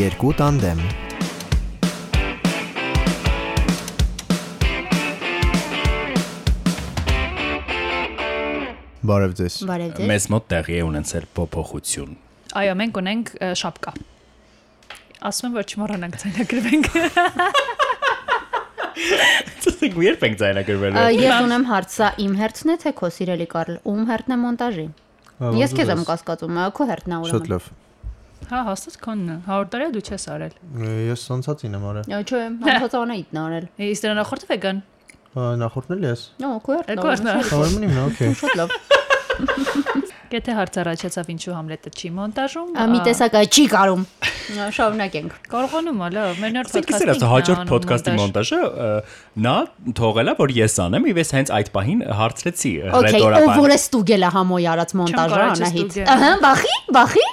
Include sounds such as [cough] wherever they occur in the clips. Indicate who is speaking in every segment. Speaker 1: Երկու տանդեմ Բարև ձեզ։
Speaker 2: Բարև ձեզ։
Speaker 3: Մեզ մոտ տեղի է ունեցել [laughs] փոփոխություն։
Speaker 4: Այո, մենք ունենք ը, շապկա։ Ասում եմ, որ չմոռանանք ցայնագրվենք։
Speaker 3: Ցտենք երբ ենք ձայնագրվել։
Speaker 2: Ա, Ես ունեմ հարց, սա իմ հերթն է թե քո սիրելի Կարլ, ում հերթն է մոնտաժի։ Ես քեզ եմ կասկածում, ա, քո հերթն է
Speaker 1: Շատ
Speaker 2: ուրեմն։
Speaker 1: լավ։
Speaker 4: [laughs] Հա, հաստատ քոնն է։ 100 տարի դու չես արել։
Speaker 1: Ես սանցածին եմ արել։
Speaker 2: Ա, Չէ, հացածանը իտնա արել։
Speaker 4: Իսկ դրա նախորդը վեգան։
Speaker 1: Ա, Նախորդն էլ ես։
Speaker 2: Նո, քո հերթն
Speaker 4: Քո հերթն է,
Speaker 2: է։
Speaker 4: արել,
Speaker 1: Կարմն իմն, օքեյ։
Speaker 2: Շատ լավ։
Speaker 4: Եթե հարց առաջացավ ինչու Համլետը չի մոնտաժում,
Speaker 2: Ա, Մի տեսակ այ չի կարում։ Ա, Շարունակենք։
Speaker 4: կարողանում է, լավ, մեր նոր
Speaker 3: Իսկ սա
Speaker 4: podcast-ին
Speaker 3: հաջորդ
Speaker 4: նա
Speaker 3: ոդկասթի
Speaker 4: անում
Speaker 3: մոնտաժը ը, նա թողելա որ ես անեմ, իվես հենց այդ պահին հարցրեցի
Speaker 2: Okay, ով որ
Speaker 3: ռետորաբար։
Speaker 2: է ստուգել է համոյ արած մոնտաժը
Speaker 4: կարա
Speaker 2: Անահիտ։
Speaker 4: չստուգել։
Speaker 2: Ահա, բախի, բախի։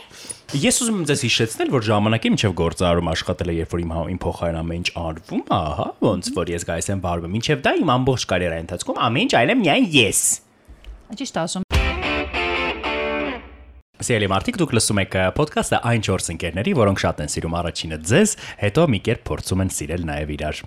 Speaker 3: Ես ուզում եմ ձեզ հիշեցնել, որ ժամանակի միջև գործարարում աշխատել է, երբ որ իմ հա- իմ փոխարեն ամեն ինչ արվում է, հա, ոնց որ ես գայս եմ բարվում։ Ինչև դա իմ ամբողջ կարիերայի ընթացքում ամեն ինչ այլ է միայն ես։
Speaker 4: է։ Ճիշտ ասում։
Speaker 3: Սիրելի մարդիկ, դուք լսում եք ը, podcast-ը այն 4 ընկերների, որոնք շատ են սիրում առաջինը ձեզ, հետո մի կերպ փորձում են սիրել նաև իրար։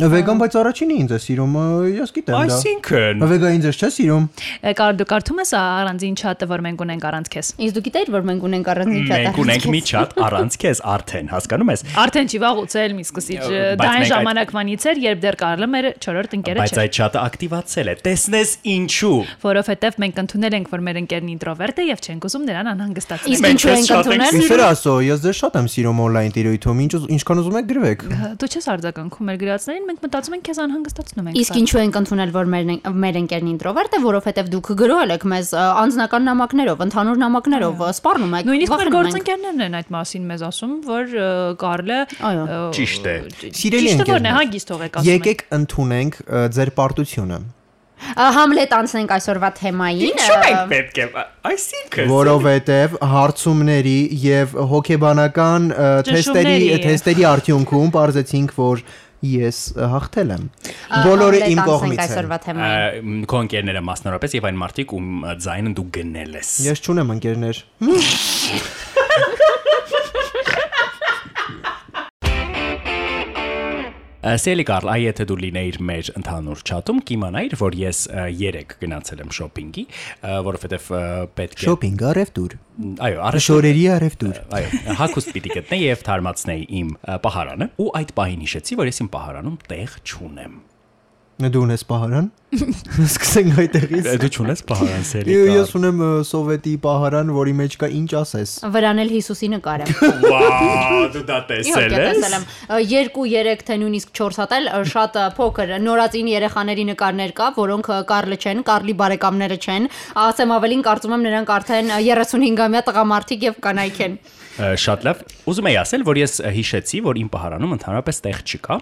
Speaker 1: Վեգան, բայց առաջինը ինձ է սիրում, ա, ես գիտեմ դա։
Speaker 3: Այսինքն,
Speaker 1: Վեգա ինձ ես չէ սիրում։
Speaker 4: Ա, Կար դու կարդում ես ա, առանձին չաթը, որ մենք ունենք առանց քեզ։
Speaker 2: Իսկ դու գիտեիր, որ մենք ունենք առանձին չաթ։
Speaker 3: մենք ունենք մի chat առանց քեզ արդեն, հասկանում ես։
Speaker 4: Արդեն չի վաղուց էլ մի սկսիչ
Speaker 3: Բայց
Speaker 4: ա, դա
Speaker 3: մենք
Speaker 4: այն
Speaker 3: այդ-
Speaker 4: ժամանակվանից էր, երբ դեռ Կարլը մեր 4-րդ ընկերը
Speaker 3: Բայց
Speaker 4: չէր։
Speaker 3: այդ chat-ը ակտիվացել է։ Տեսնես ինչու։
Speaker 4: Որովհետև մենք ընդունել ենք, որ մեր ընկերն ինտրովերտ է եւ չենք ուզում նրան անհանգստացնել։
Speaker 2: Իսկ
Speaker 3: Մենք
Speaker 2: ինչու
Speaker 3: քեզ
Speaker 2: ենք
Speaker 3: շատ ենք
Speaker 2: ընդունել։
Speaker 1: Ինչեր ասո, ես ձեզ շատ եմ սիրում on-line տիրույթում, ինչ ինչքան ուզում եք գրվեք։
Speaker 4: Ա, Դու չես արձագանքում մեր գրածներին, մենք մտածում ենք քեզ անհանգստացնում ենք։
Speaker 2: Իսկ ինչու ենք ընդունել, որ մեր մեր ընկերն ինտրովերտ է, որովհետև դուք գրոհել եք մեզ ա, անձնական նամակներով, ընդհանուր նամակներով, ա, սպառնում եք։
Speaker 4: Նույնիսկ մեր
Speaker 2: վախենում ենք։
Speaker 4: գործընկերներն են այդ մասին մեզ ասում, որ ը, Կարլը
Speaker 2: Այո։
Speaker 4: ը,
Speaker 3: Ճիշտ է։
Speaker 1: Սիրելի
Speaker 4: Ճիշտը որն է,
Speaker 1: ընկերներ,
Speaker 4: հագիս թողեք ասում։ են։
Speaker 1: Եկեք ընդունենք ա, ձեր պարտությունը,
Speaker 2: Ա, Համլետ անցնենք այսօրվա թեմային։
Speaker 3: Ինչու
Speaker 2: ա,
Speaker 3: ենք պետք է։ Այսինքն,
Speaker 1: որովհետև հարցումների եւ հոգեբանական ա, թեստերի
Speaker 4: Ճնշումների։
Speaker 1: թեստերի արդյունքում ողջացինք, որ ես ա, հաղթել եմ։
Speaker 2: ա,
Speaker 1: Բոլորը
Speaker 2: Համլետ
Speaker 1: իմ
Speaker 2: անցնենք
Speaker 1: կողմից են։
Speaker 2: Այսօրվա թեմային։
Speaker 3: կոնկերները մասնարարպես եւ այն մարդիկ, ում ա, ձայնը դու գնել ես։
Speaker 1: Ես չունեմ ընկերներ։
Speaker 3: Ա, Սիրելի Կարլ, այ եթե դու լինեիր մեր ընդհանուր chat-ում, կիմանայիր, որ ես 3 գնացել եմ շոփինգի, ա, որովհետև ա, պետք է
Speaker 1: Շոփինգ արևտուր։
Speaker 3: այո, առաջ
Speaker 1: Շորերի արևտուր։
Speaker 3: այո, հակուստ պիտի գտնեի եւ թարմացնեի իմ ա, պահարանը։ Ու այդ պահին հիշեցի, որ ես իմ պահարանում տեղ չունեմ։
Speaker 1: Դու ունես պահարան։ Սկսենք այդտեղից։
Speaker 3: Դու չունես պահարան, Սիրելի
Speaker 1: Եվ Ես ունեմ ա, սովետի պահարան, որի մեջ կա ինչ ասես։
Speaker 2: Վրան էլ Հիսուսի նկար է։
Speaker 3: Վաո, դու դա
Speaker 2: Իհարկե տեսել
Speaker 3: տեսել ես։
Speaker 2: եմ 2, 3 թե նույնիսկ 4 հատ էլ ա, շատ ա, փոքր նորածին երեխաների նկարներ կա, որոնք ա, Կարլը չեն, Կարլի բարեկամները չեն։ Ասեմ ավելին, կարծում եմ նրանք արդեն 35-ամյա տղամարդիկ եւ կանայք են։
Speaker 3: Ա, Շատ լավ։ Ուզում եի ասել, որ ես ա, հիշեցի, որ իմ պահարանում ընդհանրապես տեղ չկա։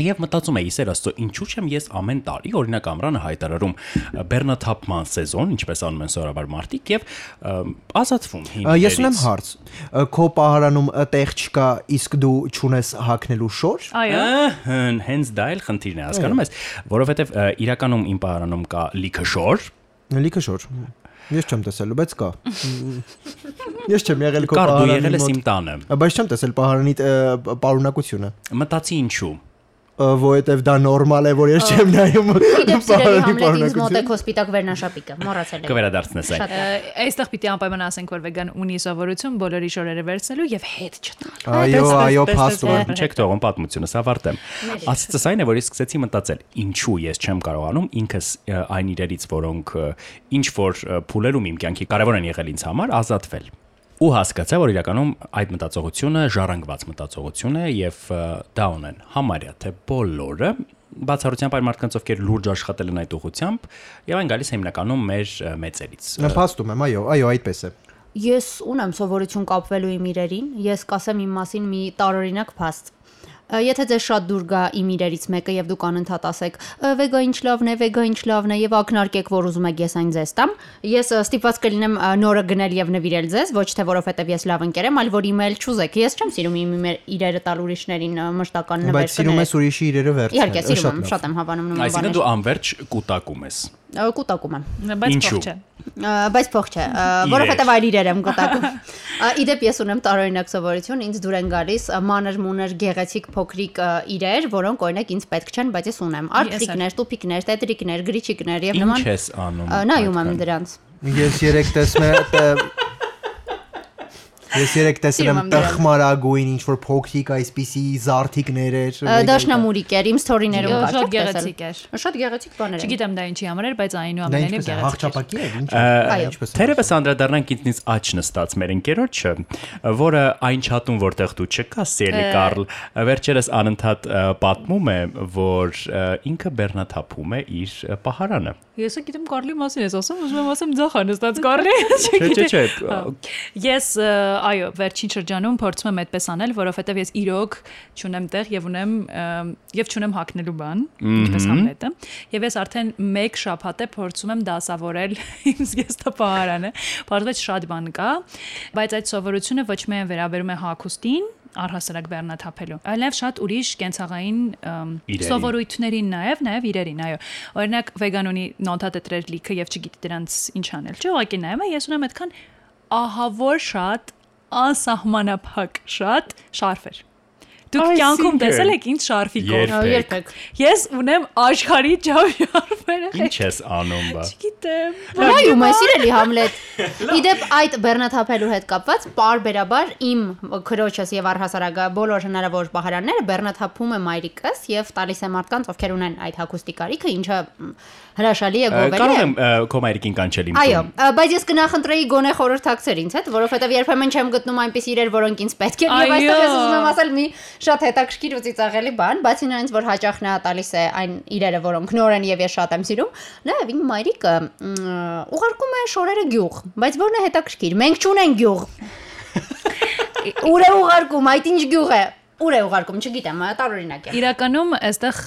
Speaker 3: Եվ մտածում էի, Սեր Աստծո, ինչու՞ չեմ ես ամեն տարի օրինակ ամրանը հայտարարում ա, բեռնաթափման սեզոն, ինչպես անում են սովորաբար մարտիկ եւ ա, ազատվում հին։
Speaker 1: Ա, Ես
Speaker 3: դերից։
Speaker 1: ունեմ հա- հարց։ Ա, Քո պահարանում ա, տեղ չկա, իսկ դու ճունես հակնելու շոր։
Speaker 4: Այո։
Speaker 3: Ահն, հենց դա էլ խնդիրն է, հասկանում ես, որովհետեւ ա, իրականում իմ պահարանում կա լիքշոր,
Speaker 1: Լիքը շոր։ Ես չեմ տեսել, բայց
Speaker 2: [laughs]
Speaker 1: կա։ Ես չեմ եղել քո
Speaker 3: կար դու
Speaker 1: պահարանի
Speaker 3: եղել ես իմ
Speaker 1: մոտ։
Speaker 3: տանը։
Speaker 1: Ա, Բայց չեմ տեսել պահարանի ա, պ- պարունակությունը,
Speaker 3: Մտածի ինչու։
Speaker 1: Ա, որովհետև դա նորմալ է, որ ես չեմ
Speaker 2: [laughs]
Speaker 1: նայում
Speaker 2: Գիտեմ, սիրելի Համլետ, ինձ մոտ է
Speaker 1: պարունակությունը։
Speaker 2: քո սպիտակ վերնաշապիկը, մոռացել եմ։
Speaker 3: Կվերադարձնես այն։
Speaker 2: Շատ
Speaker 4: Ա, Այստեղ պիտի անպայման ասենք, որ վեգան ունի սովորություն բոլորի շորերը վերցնելու եւ հետ չտալ։
Speaker 1: Այո, այո, փաստում եմ։
Speaker 3: եմ։ Չեք թողում պատմությունս ավարտեմ։ Ասածս այն է, որ ես սկսեցի մտածել, ինչու ես չեմ կարողանում ինքս ա, այն իրերից, որոնք ինչ որ փուլերում իմ կյանքի կարևոր են եղել ինձ համար, ազատվել։ Ու հասկացա, որ իրականում այդ մտածողությունը ժառանգված մտածողություն է եւ ա, դա ունեն համարյա թե բոլորը բացառությամբ այն մարդկանց, ովքեր լուրջ աշխատել են այդ ուղությամբ, եւ այն գալիս է հիմնականում մեր ա, մեծերից։
Speaker 1: Նա փաստում եմ, այո, այո, այդպես է։
Speaker 2: Ես ունեմ սովորություն կապվելու իմ իրերին, ես կասեմ իմ մասին մի տարօրինակ փաստ։ Ա, Եթե ձեզ շատ դուր գա իմ իրերից մեկը եւ դուք անընդհատ ասեք, «Ա, վեգա ինչ լավն է, վեգա ինչ լավն է եւ ակնարկեք, որ ուզում եք ես այն ձեզ տամ, ես ա, ստիպված կլինեմ ա, նորը գնել եւ նվիրել ձեզ, ոչ թե որովհետեւ ես լավ ընկեր եմ, այլ որ իմը էլ չուզեք։ Ես չեմ սիրում իմ իմեր- իրերը տալ ուրիշներին ա, մշտական նվեր
Speaker 1: Բայց սիրում
Speaker 2: կնել։
Speaker 1: ես ուրիշի իրերը վերցնել։
Speaker 2: Իհարկե,
Speaker 1: Ա,
Speaker 2: սիրում եմ,
Speaker 1: լավ։
Speaker 2: շատ եմ հավանում նման
Speaker 3: Այսինքն
Speaker 2: բաներ։
Speaker 3: դու անverջ կուտակում ես։
Speaker 2: Ա, Կուտակում եմ։
Speaker 4: բայց
Speaker 3: Ինչու՞։
Speaker 4: փող չէ։
Speaker 2: Ա, բայց փող չէ ա, որովհետև այլ իրեր եմ գտակում Ա, իդեպ ես ունեմ տարօրինակ սովորություն ինձ դուր են գալիս ա, մանր մուներ գեղեցիկ փոքրիկ ա, իրեր որոնք օրինակ ինձ պետք չեն բայց ես ունեմ արտիկներ տուփիկներ տետրիկներ գրիչիկներ եւ
Speaker 3: Ինչ
Speaker 2: նման
Speaker 3: ես անում։
Speaker 2: ա, նայում եմ
Speaker 3: այդքան։
Speaker 2: դրանց
Speaker 1: Ես երեք
Speaker 2: [laughs]
Speaker 1: տեսնել տ- Ես երեք տեսել
Speaker 2: Սիրում
Speaker 1: եմ
Speaker 2: եմ դրանք։
Speaker 1: տխմարագույն ինչ որ փոքրիկ այսպիսի զարթիկներ էր։
Speaker 2: Ա, դաշնամուրիկ էր իմ սթորիներում
Speaker 4: Ա,
Speaker 2: կա
Speaker 4: Շատ
Speaker 2: չեք տեսել։
Speaker 4: գեղեցիկ էր։
Speaker 2: շատ գեղեցիկ բաներ են
Speaker 4: Չգիտեմ դա ինչի համար էր, բայց
Speaker 1: Դա ինչպես է, հաղճապակի էր, ինչ։ Ինչպես է։
Speaker 2: Այո,
Speaker 4: այնուամենայնիվ գեղեցիկ էր։
Speaker 3: Թերևս անդրադառնանք ինձնից աճ նստած մեր ընկերոջը, որը այն չաթում, որտեղ դու չկաս, Սելի Կարլ, վերջերս անընդհատ ը, պատմում է, որ ը, ինքը բեռնաթափում է իր ը, պահարանը։
Speaker 4: Ես էլ գիտեմ Կարլի մասին ես ասում, ուզում եմ ասեմ ձախ անստած Կարլի։
Speaker 3: Չէ, չէ, չէ։
Speaker 4: Հա։ Ես ը, այո, վերջին շրջանում փորձում եմ այդպես անել, որովհետև ես իրոք ճունեմ տեղ եւ ունեմ ը, եւ ճունեմ հակնելու բան, ինչպես Համլետը։ Եվ ես արդեն մեկ շաբաթ է փորձում եմ դասավորել [laughs] իմ զգեստապահարանը։ Բարձրաց շատ բան կա, բայց այդ սովորությունը ոչ միայն վերաբերում է հակոստին, առհասարակ բեռնաթափելու, այլ նաև շատ ուրիշ կենցաղային ըմ,
Speaker 3: Իրերին։
Speaker 4: սովորույթ սովորույթներին նաև, նաև իրերին, այո։ Օրինակ վեգան ունի նոթատետրեր լիքը եւ չգիտի դրանց ինչ անել։ Չէ, ուղղակի նայում եմ, ես ունեմ այդքան ահավոր շատ անսահմանափակ շատ շարֆեր։ Դուք
Speaker 3: Այսինքն-
Speaker 4: կյանքում տեսել եք ինչ շարֆի կոր։
Speaker 2: Ա,
Speaker 3: երբեք։
Speaker 2: երբեք
Speaker 4: Ես ունեմ աշխարհի ջավ շարֆերը։
Speaker 3: Ինչ ես անում բա։
Speaker 4: Գիտեմ։
Speaker 2: Նայում ես իրելի Համլետ։ Իդեպ այդ բեռնաթափելու հետ կապված parberabar իմ քրոջս եւ առհասարակ բոլոր հնարավոր բահարանները բեռնաթափում է մայրիկս եւ տալիս է մարդկանց ովքեր ունեն այդ հագուստի կարիքը, ինչը մ, հրաշալի է
Speaker 3: Ը,
Speaker 2: գովելի։
Speaker 3: Կարող
Speaker 2: է։
Speaker 3: եմ ը, քո մայրիկին կանչել իմ
Speaker 2: Այո,
Speaker 3: տուն։
Speaker 2: ա, բայց ես կնախընտրեի գոնե խորհրդակցեր ինձ հետ, որովհետև երբեմն չեմ գտնում այնպես իրեր, որոնք ինձ պետք են, եւ
Speaker 4: Այո։
Speaker 2: այստեղ ես ուզում եմ ասել մի շատ հետաքրքիր ու ծիծաղելի բան, բացի նրանից, որ հաճախ նա տալիս է այն իրերը, որոնք նոր են եւ ես շատ եմ սիրում, նաեւ իմ մայրիկը մ, ուղարկում է շորերը գյուղ, բայց որն է հետաքրքիր, մենք չունենք [laughs] գյուղ։ Ուր է ուղարկում, այդ ինչ գյուղ է։ Ուր է ուղարկում, չգիտեմ, ա, տարօրինակ է։
Speaker 4: Իրականում այստեղ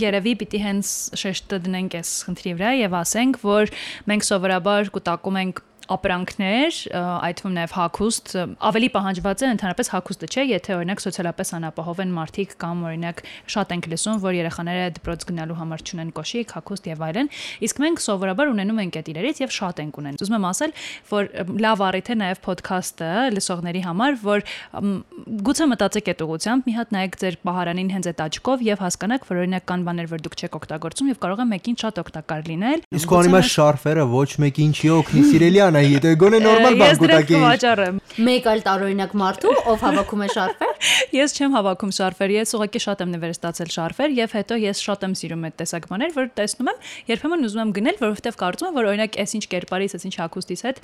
Speaker 4: Երևի պիտի հենց շեշտը դնենք այս խնդրի վրա եւ ասենք, որ մենք սովորաբար կուտակում ենք ապրանքներ, ը, այդ թվում նաև հակուստ, ը, ավելի պահանջված է ընդհանրապես հակուստը, չէ, եթե օրինակ սոցիալապես անապահով են մարդիկ կամ օրինակ շատ ենք լսում, որ երեխաները դպրոց գնալու համար չունեն կոշիկ, հակուստ եւ այլն, իսկ մենք սովորաբար ունենում ենք այդ իրերից եւ շատ ենք ունեն։ Ուզում եմ ասել, որ ը, լավ առիթ է նաև ոդքասթը լսողների համար, որ մ, գուցե մտածեք այդ ուղությամբ, մի հատ նայեք ձեր պահարանին հենց այդ աչքով եւ հասկանաք, որ օրինակ կան բաներ, որ դուք չեք օգտագործում եւ կարող է մեկին շատ օգտակար լինել։
Speaker 1: Իսկ ու անիմա շարֆերը ոչ մեկին չի օգնի, սիրելիան այ դե գոնե նորմալ բան
Speaker 4: կուտակեի։ Ես դրանք
Speaker 1: կուտակեի։
Speaker 4: վաճառեմ։
Speaker 2: Մեկ այլ տարօրինակ մարդու, ով հավաքում է շարֆեր,
Speaker 4: Ես չեմ հավաքում շարֆեր, ես ուղղակի շատ եմ նվերստացել շարֆեր եւ հետո ես շատ եմ սիրում այդ տեսակ բաներ, որ տեսնում եմ, երբեմն ուզում եմ գնել, որովհետեւ կարծում եմ, որ օրինակ այս ինչ կերպարից, այս ինչ հագուստից հետ,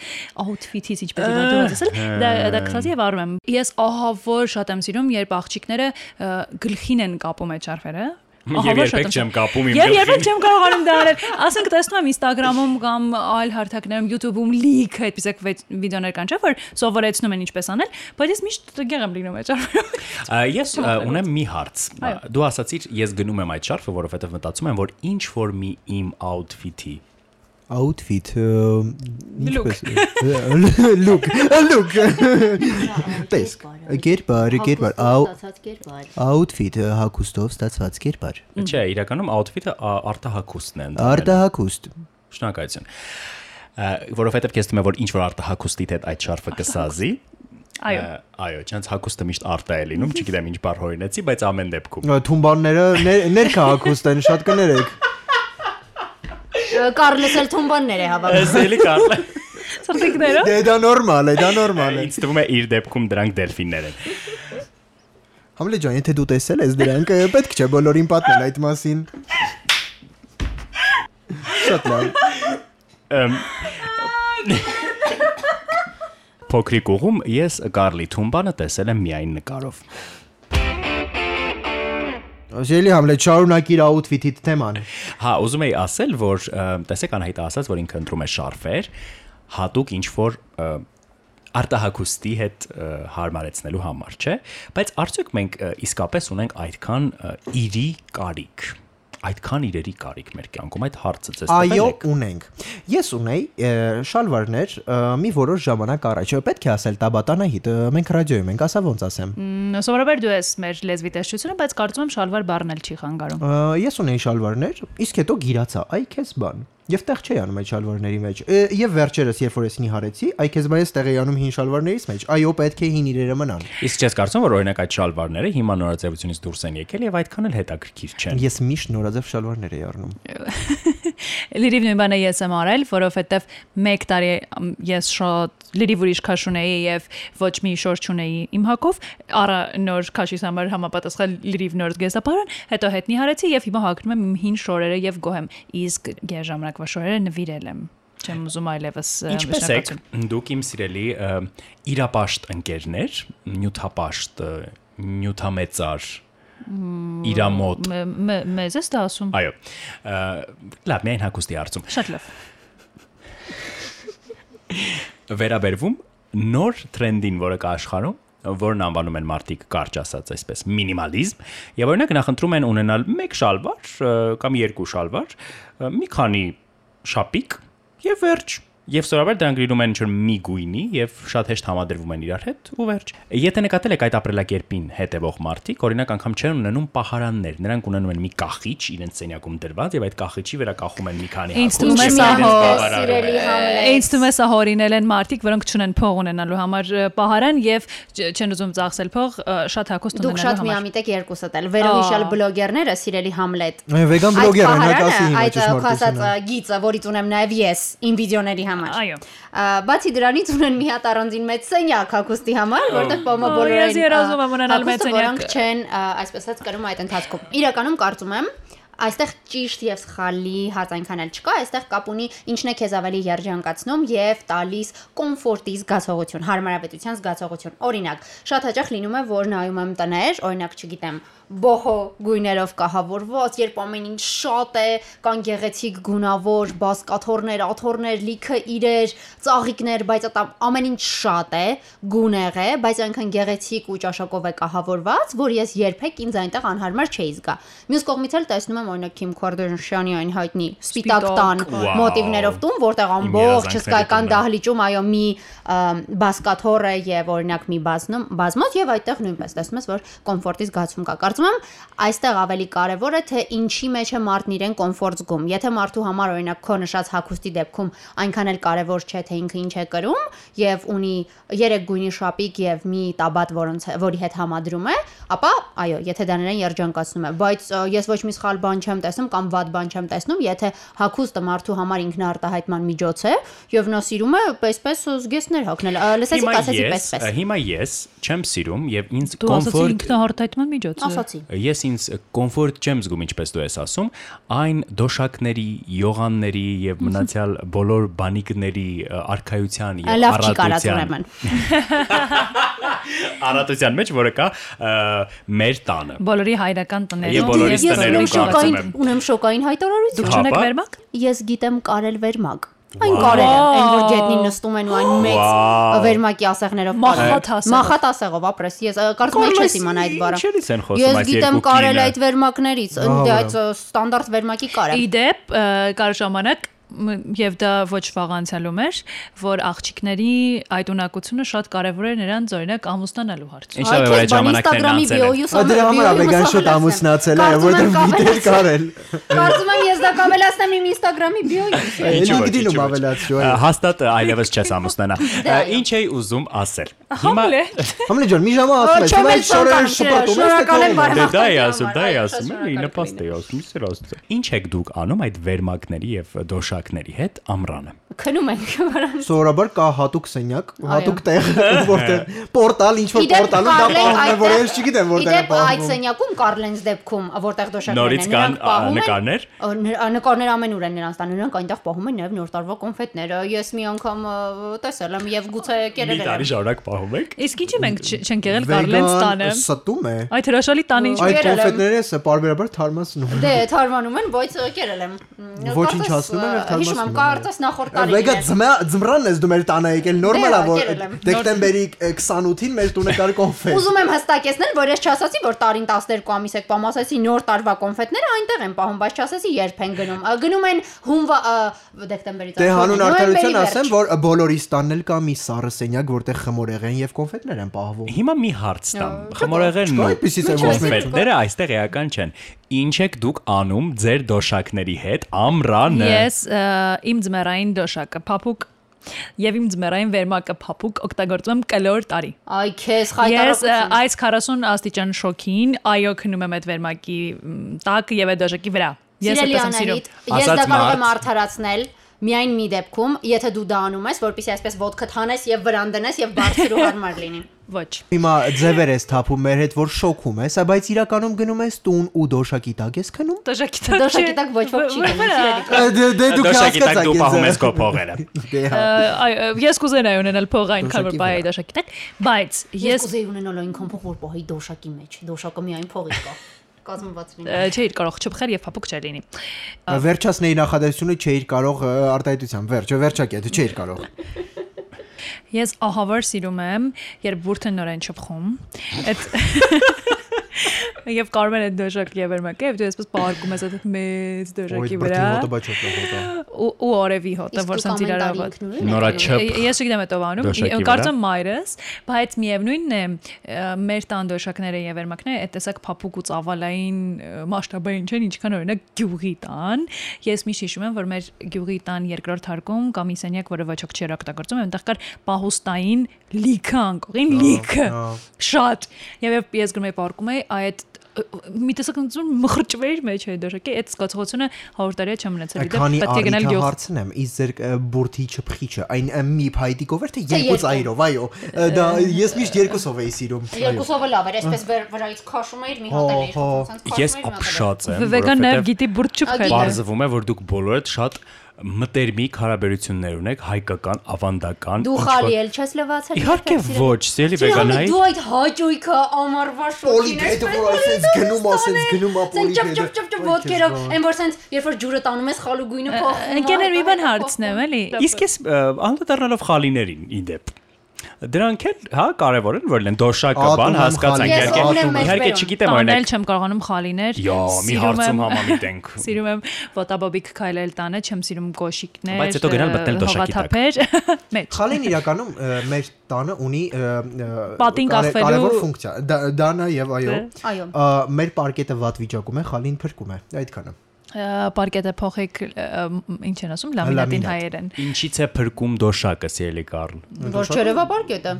Speaker 4: outfit-ից ինչպես է դասել, դա դա քսասի եւ արում եմ։ Ես ահա որ շատ եմ սիրում, երբ աղջիկները ը, գլխին են կապում այդ շարֆերը։
Speaker 3: Եվ
Speaker 4: Ահա որ
Speaker 3: երբեք
Speaker 4: շատ եմ
Speaker 3: չեմ
Speaker 4: սիրում։
Speaker 3: կապում իմ
Speaker 4: Եվ
Speaker 3: գլխին։
Speaker 4: երբեք չեմ կարողանում դա անել։ Ասենք տեսնում եմ Instagram-ում կամ այլ հարթակներում YouTube-ում լիք այդպես է վիդեոներ կան, չէ՞ որ սովորեցնում են ինչպես անել, բայց ես միշտ գեղ եմ լինում այդ շարֆերով։
Speaker 3: Ա, Ես ա, ունեմ մի հարց։ Դու ասացիր, ես գնում եմ այդ շարֆը, որովհետև մտածում եմ, որ ինչ որ մի իմ outfit-ի
Speaker 1: Outfit, ը, ինչպես։ [laughs] Look, look։ Տես, գերբար, գերբար, out
Speaker 2: ստացած կերպար։
Speaker 1: Outfit ը, հագուստով ստացված կերպար։
Speaker 3: Չէ, իրականում outfit-ը ա, արտահակուստն է։ ընդունել։
Speaker 1: Արտահագուստ։
Speaker 3: Շնորհակալություն։ Ա, Որովհետև քեզ թվում է, որ ինչ որ արտահակուստի հետ այդ շարֆը կսազի։
Speaker 4: Այո։
Speaker 3: Ա, Այո, չնայած հակոստը միշտ արտա է լինում, չգիտեմ ինչ բառ հորինեցի, բայց ամեն դեպքում։
Speaker 1: Ա, Թումբանները ներ- ներքա հագուստ են, շատ կներեք։
Speaker 2: Կարլոս էլ թումբաններ է հավաքում։
Speaker 3: Ես էլի կարլը։
Speaker 4: Սրտիկներով։
Speaker 1: Դե դա նորմալ է, դա նորմալ է։
Speaker 3: Ինձ թվում է իր դեպքում դրանք դելֆիններ են։
Speaker 1: Համլե ջան, եթե դու տեսել ես դրանք, ը, պետք չէ բոլորին պատմել այդ մասին։ Շատ լավ։
Speaker 3: Ամ, Փոքրիկ ուղում ես Կարլի Թումբանը տեսել եմ միայն նկարով։
Speaker 1: Ասելի Համլե, շարունակ իր outfit-ի թեման։
Speaker 3: Հա, ուզում էի ասել, որ ը, տեսեք Անահիտը ասաց, որ ինքը ընտրում է շարֆեր, հատուկ ինչ որ արտահակոստի հետ ը, հարմարեցնելու համար, չէ՞։ Բայց արդյոք մենք ը, իսկապես ունենք այդքան ը, իրի կարիք, այդքան իրերի կարիք մեր կյանքում, այդ հարցը ցես
Speaker 1: Այո, ունենք։ Ես ունեի ը, շալվարներ ը, մի որոշ ժամանակ առաջ։ Ա, Պետք է ասել Տաբատանա հիտ, ը, մենք ռադիոյում ենք, ասա ոնց ասեմ։
Speaker 4: Սովորաբար դու ես մեր լեզվի տեսչությունը, բայց կարծում եմ շալվար բառնել չի խանգարում։
Speaker 1: Ա, Ես ունեի շալվարներ, իսկ հետո գիրացա, այ քեզ բան։ Եվ տեղ չի անում այդ շալվարների մեջ։ Է, Եվ վերջերս, երբ որ ես նիհարեցի, այ քեզ մայիս տեղ է անում հին շալվարներից մեջ։ Այո, պետք է հին իրերը մնան։
Speaker 3: Իսկ ես կարծում եմ, որ օրինակ այդ շալվարները հիմա նորաձևությունից դուրս են եկել եւ այդքան էլ հետաքրքիր չեն։
Speaker 1: Ես միշտ նորաձև շալվարներ եի առնում։
Speaker 4: Լիրիվ նույն բանը ես եմ արել, որովհետև 1 տարի ամ, ես շատ լիրիվ ուրիշ քաշ ունեի եւ ոչ մի շոր չունեի իմ հակով, առա նոր քաշիս համար համապատասխան լիրիվ նոր գեզապարան, հետո հետ նիհարեցի եւ հիմա հագնում եմ իմ հին շորերը եւ գոհեմ։ Իսկ գեր ժամանակվա շորերը նվիրել եմ։ Չեմ ուզում այլևս ը,
Speaker 3: Ինչպե՞ս եք
Speaker 4: նշանակություն։
Speaker 3: դուք իմ սիրելի ը, իրապաշտ ընկերներ, նյութապաշտ, ը, նյութամեծար իրամոտ։
Speaker 4: Մե- մե- Մեզ էս դա ասում։
Speaker 3: Այո։ ը, Լավ, միայն հակոստի արծում։
Speaker 4: Շատ լավ։
Speaker 3: Վերաբերվում նոր տրենդին, որը կա աշխարհում, որն անվանում են մարտիկ կարճ ասած այսպես մինիմալիզմ, եւ օրինակ նախընտրում են ունենալ մեկ շալվար ը, կամ երկու շալվար, ը, մի քանի շապիկ եւ վերջ։ Եվ սովորաբար դրանք լինում են ինչ-որ մի գույնի եւ շատ հեշտ համադրվում են իրար հետ ու վերջ։ Եթե նկատել եք այդ ապրելակերպին հետևող մարդիկ, օրինակ անգամ չեն ունենում պահարաններ, նրանք ունենում են մի կախիչ իրենց սենյակում դրված եւ այդ կախիչի վրա կախում են մի քանի
Speaker 4: Ինձ
Speaker 3: հագուստ,
Speaker 4: թվում է
Speaker 3: իրենց
Speaker 4: սա հո-
Speaker 3: բավարարում է։
Speaker 4: Ինչ դու ես հորինել են մարդիկ, որոնք չունեն փող ունենալու համար ը, պահարան եւ չ- չեն ուզում ծախսել փող ը, շատ հակոստ
Speaker 2: Դուք
Speaker 4: ունենալու
Speaker 2: շատ
Speaker 4: համար։
Speaker 2: միամիտ եք երկուսդ էլ։ Վերահիշալ բլոգերները, սիրելի Համլետ։
Speaker 1: Այո, վեգան բլոգեր են,
Speaker 2: պահարանը,
Speaker 1: հակասի հիմա
Speaker 2: այդ
Speaker 1: ճշմարտությունը։
Speaker 2: քասած գիծը, որից ունեմ նաև ես, իմ վիդեոների համար։
Speaker 4: Այո։
Speaker 2: Ա, Բացի դրանից ունեն մի հատ առանձին մեծ սենյակ հագուստի համար, որտեղ պոմո
Speaker 4: Օ,
Speaker 2: բոլորին։
Speaker 4: ես երազում եմ ունենալ մեծ սենյակ։
Speaker 2: Որոնք չեն, ա, այսպես ասած, կրում այդ ընթացքում։ Իրականում կարծում եմ Այստեղ ճիշտ եւ սխալի հաց այնքան էլ չկա, այստեղ կապ ունի ինչն է քեզ ավելի երջանկացնում եւ տալիս կոմֆորտի զգացողություն, հարմարավետության զգացողություն։ Օրինակ, շատ հաճախ լինում է, որ նայում եմ տներ, օրինակ, չգիտեմ, բոհո գույներով կահավորված, երբ ամեն ինչ շատ է, կան գեղեցիկ գունավոր, բասկաթորներ, աթորներ, լիքը իրեր, ծաղիկներ, բայց այդ ամ- ամեն ինչ շատ է, գունեղ է, բայց այնքան գեղեցիկ ու ճաշակով է կահավորված, որ ես երբեք ինձ այնտեղ անհարմար չէի զգա։ Մյուս կողմից էլ տեսնում եմ օրինակ Kim Kardashian-ի այն հայտնի սպիտակ
Speaker 4: Սպիտակ,
Speaker 2: տան
Speaker 3: վաո։
Speaker 2: մոտիվներով տուն, որտեղ
Speaker 3: Իմ
Speaker 2: ամբողջ
Speaker 3: երազանքների
Speaker 2: հսկայական
Speaker 3: տունն է։
Speaker 2: դահլի լիճում այո մի ըմ, բասկաթոռ է եւ օրինակ մի բազնում բազմոց եւ այդտեղ նույնպես տեսնում ես որ կոմֆորտի զգացում կա կարծում եմ այստեղ ավելի կարեւոր է թե ինչի մեջ է մարդն իրեն կոմֆորտ զգում եթե մարդու համար օրինակ քո նշած հագուստի դեպքում այնքան էլ կարեւոր չէ թե ինքը ինչ է կրում եւ ունի երեք գույնի շապիկ եւ մի տաբատ որոնց որի հետ համադրում է ապա այո եթե դա նրան երջանկացնում է բայց ը, ես ոչ մի սխալ բան չեմ տեսնում կամ վատ բան չեմ տեսնում եթե հագուստը մարդու համար ինքնարտահայտման միջոց է եւ նա սիրում է պես-պես զգեստներ հագնել Ա, լսեցի
Speaker 3: Հիմա
Speaker 2: ասեցի
Speaker 3: ես,
Speaker 2: պես-պես
Speaker 3: հիմա ես չեմ սիրում եւ ինձ
Speaker 4: Դու ասացի
Speaker 3: կոմֆորտ
Speaker 4: ինքնահարտայտման միջոց։ է։
Speaker 2: ասացի
Speaker 3: ես ինձ կոմֆորտ չեմ զգում ինչպես դու ես ասում, այն դոշակների, յոգանների եւ մնացյալ բոլոր բանիկների ը, արքայության եւ
Speaker 2: լավ չի կարած
Speaker 3: առատության
Speaker 2: ուրեմն
Speaker 3: առատության մեջ, որը կա ը, մեր տանը։
Speaker 4: Բոլորի հայրական
Speaker 3: Եվ
Speaker 4: տներում
Speaker 3: բոլորի
Speaker 4: եւ
Speaker 2: ես
Speaker 3: տներում
Speaker 2: ունեմ
Speaker 3: կարծում
Speaker 2: շոկային
Speaker 3: եմ։
Speaker 2: ունեմ շոկային հայտարարություն
Speaker 4: Դուք
Speaker 3: Հա,
Speaker 4: չունեք
Speaker 3: բա։
Speaker 4: վերմակ։
Speaker 2: ես գիտեմ կարել վերմակ Այն կարել է, այն որ գետնին նստում են ու այն մեծ
Speaker 3: Վաո։
Speaker 2: վերմակի ասեղներով
Speaker 4: Մախատ
Speaker 2: կարել։
Speaker 4: ասեղով։
Speaker 2: Մախատ ասեղով ապրես։ Ես ա, կարծում եմ չես իմանա այդ բառը։
Speaker 3: Ինչերից են խոսում
Speaker 2: Ես
Speaker 3: այդ
Speaker 2: գիտեմ
Speaker 3: երկու
Speaker 2: կարել
Speaker 3: կինը։
Speaker 2: այդ վերմակներից,
Speaker 1: Բավարար։
Speaker 2: ընդ այդ ստանդարտ վերմակի կարել։
Speaker 4: Իդեպ կար ժամանակ մ, եւ դա ոչ վաղ անցյալում էր, որ աղջիկների այդ ունակությունը շատ կարեւոր է նրանց օրինակ ամուսնանալու հարցում։
Speaker 3: Ինչ լավ է, որ այդ ժամանակներն անցել են։
Speaker 1: Ա, Դրա համար ա, վեգան շոտ ամուսնացել է, որտեղ դիտեր կարել։
Speaker 2: Կարծում եմ ես դա կամելացնեմ իմ Instagram-ի bio-յս։
Speaker 3: Ինչու՞ ոչ,
Speaker 1: LinkedIn-ում
Speaker 3: ինչու՞ ոչ։
Speaker 1: ավելացրու,
Speaker 3: Ա,
Speaker 1: այո։
Speaker 3: Հաստատ այլևս չես ամուսնանա։
Speaker 2: Դե
Speaker 3: Ա, Ինչ էի ուզում ասել։
Speaker 4: Համլե։
Speaker 1: Համլի ջան, մի ժամա ասում ես, հիմա
Speaker 2: չեմ էլ ցանկանում,
Speaker 1: շորերը շպատում ես, տեղ
Speaker 2: շնորհակալ եմ, բարև Հաղթական համար, այո, շատ շնորհակալ
Speaker 3: Դե դա է ասում, դա է ասում, էլի նպաստ է ասում, սեր ասում։ Ինչ եք դուք անում այդ վերմակների եւ դոշակների հետ ամրանը։
Speaker 2: Քնում ենք [laughs] վրան։
Speaker 1: Սովորաբար կա հատուկ սենյակ, հատուկ
Speaker 2: Այո։ [laughs]
Speaker 1: տեղ, որտեղ պորտալ, ինչ որ պորտալում դա պահում է, որ ես չգիտեմ որտեղ է
Speaker 2: Իդեպ
Speaker 1: պահում։
Speaker 2: այդ սենյակում Կարլենս դեպքում, որտեղ դոշակներն են, նրանք պահում են
Speaker 3: Նորից կան նկարներ։
Speaker 2: Ա, նր- ա, Նկարներ ամենուր են նրանց տան, նրանք այնտեղ պահում են նաև նոր տարվա կոնֆետները։ Ես մի անգամ ա, տեսել եմ եւ գուցե
Speaker 3: Մի
Speaker 2: կերել
Speaker 3: տարի
Speaker 2: եմ։
Speaker 3: շարունակ պահում եք։
Speaker 4: Իսկ ինչի մենք չ- չենք եղել Կարլենց
Speaker 1: Վեգան
Speaker 4: տանը։
Speaker 1: ստում է։
Speaker 4: Այդ հրաշալի տանը ինչ
Speaker 1: Այդ
Speaker 2: Այ- կերել եմ։
Speaker 1: կոնֆետները սա բարբերաբար թարմացնում։
Speaker 2: Դե, թարմանում են, բայց ա, կերել եմ։ Մ,
Speaker 1: Ոչինչ
Speaker 2: կարծես,
Speaker 1: հասնում են, եւ թարմացնում
Speaker 2: ա, հիշում եմ,
Speaker 1: են։
Speaker 2: Կարծես նախորդ տարին։
Speaker 1: Վեգա
Speaker 2: էր։
Speaker 1: ձմա ձմրանն ես դու մեր տանը եկել նորմալ է որ
Speaker 2: Դե, ակերել եմ, նոր-
Speaker 1: դեկտեմբերի 28-ին մեր տունը կար կոնֆետ։
Speaker 2: Ուզում եմ հստակեցնել, որ ես չասացի, որ տարին 12 ամիս եք պահում, ասացի նոր տարվա կոնֆետները այնտեղ են պահում, բայց չասացի երբ են գնում։ Ա, Գնում են հունվա ա, դեկտեմբերից
Speaker 1: Դե
Speaker 2: արդեն,
Speaker 1: հանուն
Speaker 2: նոյեմբերի
Speaker 1: արդարություն ասեմ,
Speaker 2: վերջ։
Speaker 1: որ բոլորիս տանն էլ կա մի սառը սենյակ, որտեղ խմորեղեն եւ կոնֆետներ են պահվում։
Speaker 3: Հիմա մի հարց տամ։ Խմորեղենն
Speaker 1: Չկա
Speaker 3: ու
Speaker 1: այդպիսի ձև ոչ մեկը։
Speaker 3: կոնֆետները դե այստեղ էական չեն։ Ինչ եք դուք անում ձեր դոշակների հետ ամրանը։
Speaker 4: Ես ը, իմ ձմեռային դոշակը փափուկ եւ իմ ձմեռային վերմակը փափուկ օգտագործում եմ կլոր տարի։
Speaker 2: Այ քեզ
Speaker 4: Ես ը,
Speaker 2: խայտարակություն։
Speaker 4: այս 40 աստիճան շոքին այո քնում եմ այդ վերմակի մ, տակ եւ այդ դոշակի վրա։ Ես
Speaker 2: Սիրելի
Speaker 4: այդպես եմ սիրում։
Speaker 2: Անահիտ, ես
Speaker 3: Ասաց
Speaker 2: դա կարող եմ
Speaker 3: մարդ։
Speaker 2: արդարացնել միայն մի դեպքում, եթե դու դա անում ես, որpիսի այսպես ոդկդ հանես եւ վրան դնես եւ բարձրու հարմար լինի։
Speaker 4: Ոչ։
Speaker 1: Հիմա ձևեր ես թափում մեր հետ, որ շոկում ես, ա, բայց իրականում գնում ես տուն ու դոշակի տակ ես քնում։
Speaker 4: Դոշակի տակ։
Speaker 2: Դոշակի տակ ոչ ոք չի գնում, սիրելի
Speaker 1: Ա, Դե դե դու
Speaker 3: Դոշակի տակ դու պահում ես քո
Speaker 1: կոփ։
Speaker 3: փողերը։
Speaker 1: Դե հա։
Speaker 4: Այո, ես կուզենայի ունենալ փող այնքան որ
Speaker 1: Դոշակի
Speaker 4: բայ
Speaker 1: վրա։
Speaker 4: դոշակի տակ, բայց
Speaker 2: Ես
Speaker 4: ես
Speaker 2: կուզեի ունենալ այնքան փող, որ պահի դոշակի մեջ։ Դոշակը միայն փողի կա։ Կազմված լինի։
Speaker 4: ը, չէի կարող չփխել եւ փափուկ չէր լինի։
Speaker 1: Վերջացնեի նախադասությունը չէիր կարող ը, արտահայտության։ Վերջը վերջակի, դու չէիր կարող։
Speaker 4: Ես ահավոր սիրում եմ, երբ բուրդը նորեն չփխում։ Այդ Եվ կարող են այդ դոշակի վերմակը, եւ դու այսպես բարգում ես այդ մեծ
Speaker 1: Ոյ,
Speaker 4: դոշակի վրա։
Speaker 1: բրդի հոտը բայց հոտը հոտը։
Speaker 4: ու- Ու օրևի հոտը, որ սենց իրար ավաց։
Speaker 3: Նորա չփ։
Speaker 4: Ես չգիտեմ այդ ով անում,
Speaker 3: Դոշակի
Speaker 4: ե-
Speaker 3: վրա։
Speaker 4: կարծեմ մայրս, բայց միևնույնն է, ը, մեր տան դոշակները եւ վերմակները այդ տեսակ փափուկ ու ծավալային ը, մասշտաբային չեն, ինչքան օրինակ գյուղի տան։ Ես միշտ հիշում եմ, որ մեր գյուղի տան երկրորդ հարկում կամ իսենյակ, որը ոչ ոք չի օգտագործում, այնտեղ կար պահոստային լիքը անկողին լիքը։
Speaker 1: ա։
Speaker 4: Շատ։ Եվ երբ ես գրում եի պարկում էի, այ այդ ը, մի տեսակ ընդունում մխրճվեր մեջ այդ դաշակի այդ սկացողությունը 100 տարի է չեմ մնացել դիտել
Speaker 1: Քանի
Speaker 4: պետք է գնալ
Speaker 1: արդյունքը
Speaker 4: գյուղ
Speaker 1: հարցնեմ, իս ձեր ը, բուրդի չփխիչը, այն ը, մի փայտիկով էր թե երկու
Speaker 2: երկու։
Speaker 1: ծայրով, այո։ ը, Դա ես միշտ երկուսով էի սիրում։ այո։
Speaker 2: Երկուսովը լավ էր, այսպես վեր- վրայից քաշում էիր, մի հատ էլ էիր,
Speaker 1: Հա, հա։
Speaker 2: ցած քաշում
Speaker 3: Ես
Speaker 2: էիր, մի հատ էլ էիր։
Speaker 3: ապշած եմ,
Speaker 4: վեգաններ գիտի բուրդ
Speaker 2: Ա,
Speaker 4: չփքել։
Speaker 3: Պարզվում է, որ դուք բոլորդ շատ մտերմիկ հարաբերություններ ունեք հայկական ավանդական։
Speaker 2: Դու
Speaker 3: ինչ-որ-
Speaker 2: խալի էլ չես լվացել։
Speaker 3: Իհարկե ոչ, սիրելի վեգանայի։
Speaker 2: Դու այդ հաճույքը ամառվա շոկին
Speaker 1: Պոլիգետ, որ ասես գնում, ասես գնում, ա,
Speaker 2: Պոլիգետ։
Speaker 1: պոլիգետը,
Speaker 2: Չփ չփ չփ
Speaker 1: ո, քեզ
Speaker 2: ոդկերով,
Speaker 1: բան։
Speaker 2: այն որ սենց երբ որ ջուրը տանում ես խալու գույնը փոխում։
Speaker 4: Ընկերներ մի բան
Speaker 2: այ,
Speaker 4: հարցնեմ, էլի։
Speaker 3: Իսկ ես ը, անդրադառնալով խալիներին իդեպ Դրանք էլ, հա, կարևոր են, որ լեն դոշակը
Speaker 1: Ատում
Speaker 3: բան
Speaker 1: եմ
Speaker 3: հասկացան,
Speaker 1: խալին,
Speaker 3: իհարկե։
Speaker 1: ատում եմ
Speaker 3: Իհարկե
Speaker 2: մեջբերում։
Speaker 3: չգիտեմ
Speaker 4: տանել
Speaker 3: օրինակ։
Speaker 4: չեմ կարողանում խալիներ։
Speaker 3: Յա, մի
Speaker 4: սիրում
Speaker 3: հարցում
Speaker 4: եմ-
Speaker 3: համամիտենք։
Speaker 4: [laughs] Սիրում եմ ոտաբոբիկ քայլել տանը, չեմ սիրում գոշիկներ։
Speaker 3: Բայց հետո գնալ
Speaker 4: ը,
Speaker 3: մտնել դոշակի տակ։ [laughs]
Speaker 4: հողաթափեր, Մեջ։
Speaker 1: Խալին իրականում ը, մեր տանը ունի ը, ը, կարե-
Speaker 4: Պատին կախվելու-
Speaker 1: կարևոր ֆունկցիա։ Դա դա նաև այո։
Speaker 2: Այո։
Speaker 1: Ա, Մեր պարկետը վատ վիճակում է, խալին փրկում է, այդքանը։
Speaker 4: ը, Պարկետը փոխեք, ը, ը, ինչ են ասում, լամինատին
Speaker 1: Լամինատ։
Speaker 4: հայերեն։
Speaker 3: Ինչից է փրկում դոշակը, սիրելի Կարլ։
Speaker 2: Որ չերևա պարկետը։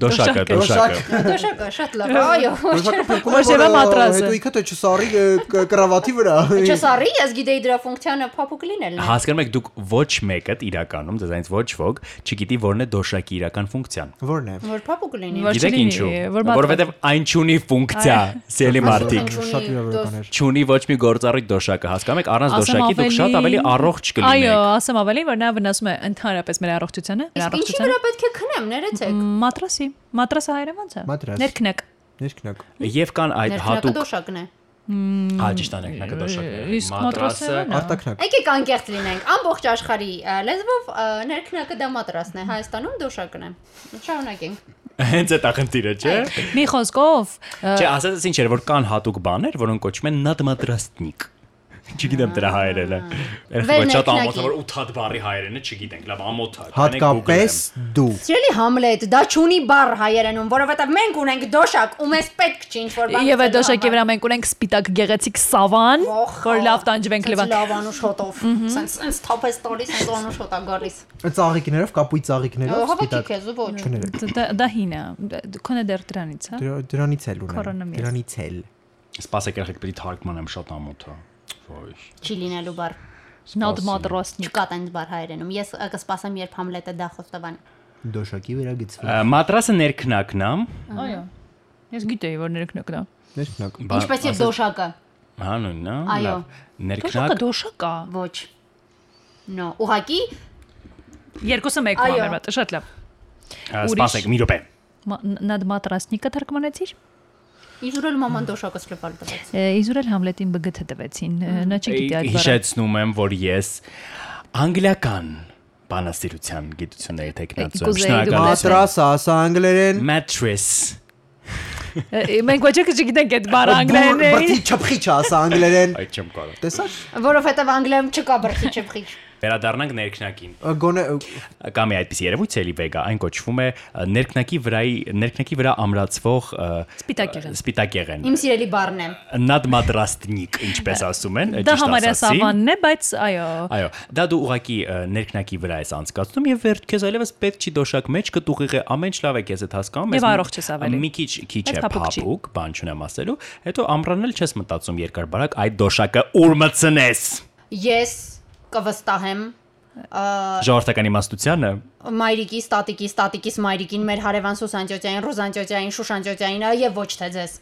Speaker 3: Դոշակը, դոշակը։
Speaker 2: Դոշակը շատ լավ, այո։
Speaker 1: Որոշակը փրկում
Speaker 4: Որ ձևը
Speaker 1: ը,
Speaker 4: մատրաս է։
Speaker 1: Հետո ինքը թե չսարի ը, կ- կրավատի վրա։
Speaker 2: Չես արի, ես գիտեի դրա ֆունկցիանը փափուկ լինելն է։
Speaker 3: Հասկանում եք, դուք ոչ մեկը իրականում, դրանից ոչ ոք չգիտի որն է դոշակի իրական ֆունկցիան։
Speaker 1: Որն է։
Speaker 2: Որ փափուկ լինի։
Speaker 4: Որ
Speaker 3: Գիտեք
Speaker 4: չլինի,
Speaker 3: ինչու։
Speaker 4: որ մատրաս-
Speaker 3: Որովհետև այն չունի ֆունկցիա, սիրելի մարդիկ։
Speaker 2: Չունի
Speaker 1: շատ իրավական էր։
Speaker 3: Չունի ոչ մի գործառույթ դոշակը, հասկանում եք, առանց
Speaker 4: Ասեմ
Speaker 3: դոշակի դուք շատ ավելի առողջ
Speaker 4: Այո,
Speaker 3: կլինեք։
Speaker 4: ասեմ ավելի, որ նա վնասում է ընդհանրապես մեր առողջությանը, մեր
Speaker 2: Իսկ ինչի
Speaker 4: առողջությանը։
Speaker 2: վրա պետք է քնեմ, ներեցեք։
Speaker 4: Маտրասի, маտրասը հայերեն ո՞նց է։
Speaker 1: Մատրաս։
Speaker 4: Ներքնեք։
Speaker 1: Ներքնակ։
Speaker 3: Եվ կան այդ
Speaker 2: Ներքնակը
Speaker 3: հատուկ
Speaker 2: դոշակն է։
Speaker 3: Հա, ճիշտ է, ներքնակը դոշակները։
Speaker 4: Իսկ մատրասը ո՞ն է։
Speaker 1: Արտակնակ։
Speaker 2: Եկեք անկեղծ լինենք։ Ամբողջ աշխարհի ա, լեզվով ա, ներքնակը դա մատրասն է, Հայաստանում դոշակն է։ Շարունակենք։
Speaker 3: [laughs] Հենց այդ ախնդիրը, չէ։
Speaker 4: Մի խոսքով, ը,
Speaker 3: Չէ, ասած ինչ էր, որ կան հատուկ բաներ, որոնք կոչվում են նադմատրաստնիկ։ Չգիտեմ դրա հայերենը։ Երբեք շատ
Speaker 2: Վերնեքնակի։
Speaker 3: ամոթ է, որ 8 բառի հայերենը չգիտենք, լավ ամոթ է։
Speaker 1: Հատկապես դու։
Speaker 2: Սիրելի Համլետ, դա չունի բառ հայերենում, որովհետև մենք ունենք դոշակ, ու մեզ պետք չի ինչ որ
Speaker 4: Եվ այդ դոշակի վրա մենք ունենք սպիտակ գեղեցիկ սավան, որ լավ տանջվենք լվան։
Speaker 2: Լավ անուշ հոտով։ Սենց սենց թափես տալիս, սենց անուշ հոտա գալիս։
Speaker 1: Ծաղիկներով, կապույտ ծաղիկներով
Speaker 2: Հավաքի քեզ ու ոչ։
Speaker 1: Չներեք։
Speaker 4: Դա դա հին է։ Դա- Քոնե դեռ դրանից հա? է։
Speaker 1: Դրա- Դրանից էլ ունեմ։
Speaker 4: Քորոնամիաս։
Speaker 1: Դրանից էլ։
Speaker 3: Սպասեք, երբեք պիտի թարգմանեմ շատ ամոթ է։ Ոյ։
Speaker 2: Չի լինելու բառ։
Speaker 4: Նոդ մատրոսնիկ։
Speaker 2: Չկա տենց բառ հայերենում։ Ես ա, կսպասեմ, երբ Համլետը դա խոստովանի։
Speaker 1: Դոշակի վրա գծվի։
Speaker 3: Մատրասը ներքնակն է։
Speaker 4: Այո։ Ես գիտեի, որ ներքնոք դա։
Speaker 1: Ներքնակ։
Speaker 3: բա-
Speaker 2: Ինչպես եւ
Speaker 3: ասած-
Speaker 2: դոշակը։
Speaker 3: Հա, նույնն է։
Speaker 2: Այո։
Speaker 3: լավ, Ներքնակ
Speaker 4: Դոշակը դոշակ է։
Speaker 2: Ոչ։ Նո, ուղակի
Speaker 4: Երկուսը մեկ
Speaker 2: Այո։
Speaker 4: համար մատ, շատ լավ։
Speaker 3: Ա, Սպասեք մի րոպե։
Speaker 4: Մա- Նոդ մատրոսնիկը թարգմանեցիր։
Speaker 2: իզուրել մաման դոշակս լպալ տվեց։
Speaker 4: Ե, Իզուրել Համլետին բգթը տվեցին։ ը, Նա չգիտի այդ բառը։
Speaker 3: Հիշեցնում եմ, որ ես անգլիական բանասիրության գիտությունների տեխնացու եմ։
Speaker 4: Կուզեի դու
Speaker 3: Շնորհակալություն։
Speaker 1: Մատրաս ասա անգլերեն։
Speaker 3: Mattress։
Speaker 4: Ը, Մենք ոչ ոք չգիտենք այդ բառը անգլերեն։
Speaker 1: Բրդի չփխիչ ասա անգլերեն։
Speaker 3: Այդ չեմ կարող։
Speaker 1: Տեսա՞ր։
Speaker 2: Որովհետև անգլերեն չկա բրխի չփխիչ։
Speaker 3: Վերադառնանք ներքնակին։
Speaker 1: Գոնե
Speaker 3: Կամ է այդպես երևույթ էլի վեգա, այն կոչվում է ը, ներքնակի վրայի ներքնակի վրա ամրացվող ը,
Speaker 4: Սպիտակեղեն։
Speaker 3: Սպիտակեղեն։
Speaker 2: Իմ սիրելի բառն է։
Speaker 3: Նադմադրաստնիկ, ինչպես ասում են,
Speaker 4: Դա
Speaker 3: ճիշտ
Speaker 4: համարյա
Speaker 3: ասացի։
Speaker 4: սավանն է, բայց այո,
Speaker 3: Այո, դա դու ուղակի ը, ներքնակի վրա ես անցկացնում եւ վերջ քեզ այլևս պետք չի դոշակ մեջ կտուղիղ է ամեն ինչ լավ է քեզ այդ հասկանում
Speaker 4: Եվ
Speaker 3: ես մի-
Speaker 4: առողջ ես ավելի։
Speaker 3: մի քիչ քիչ
Speaker 4: Բայց
Speaker 3: է
Speaker 4: փափուկ չի։
Speaker 3: փափուկ բան չունեմ ասելու հետո ամրանել չես մտածում երկար բարակ այդ դոշակը ուր մցնես
Speaker 2: Ես կվստահեմ ա,
Speaker 3: ժողովրդական իմաստությունը
Speaker 2: մայրիկի, ստատիկի, ստատիկիս մայրիկին, մեր հարևան Սուսանջոջային, Ռուզանջոջային, Շուշանջոջային եւ ոչ թե ձեզ։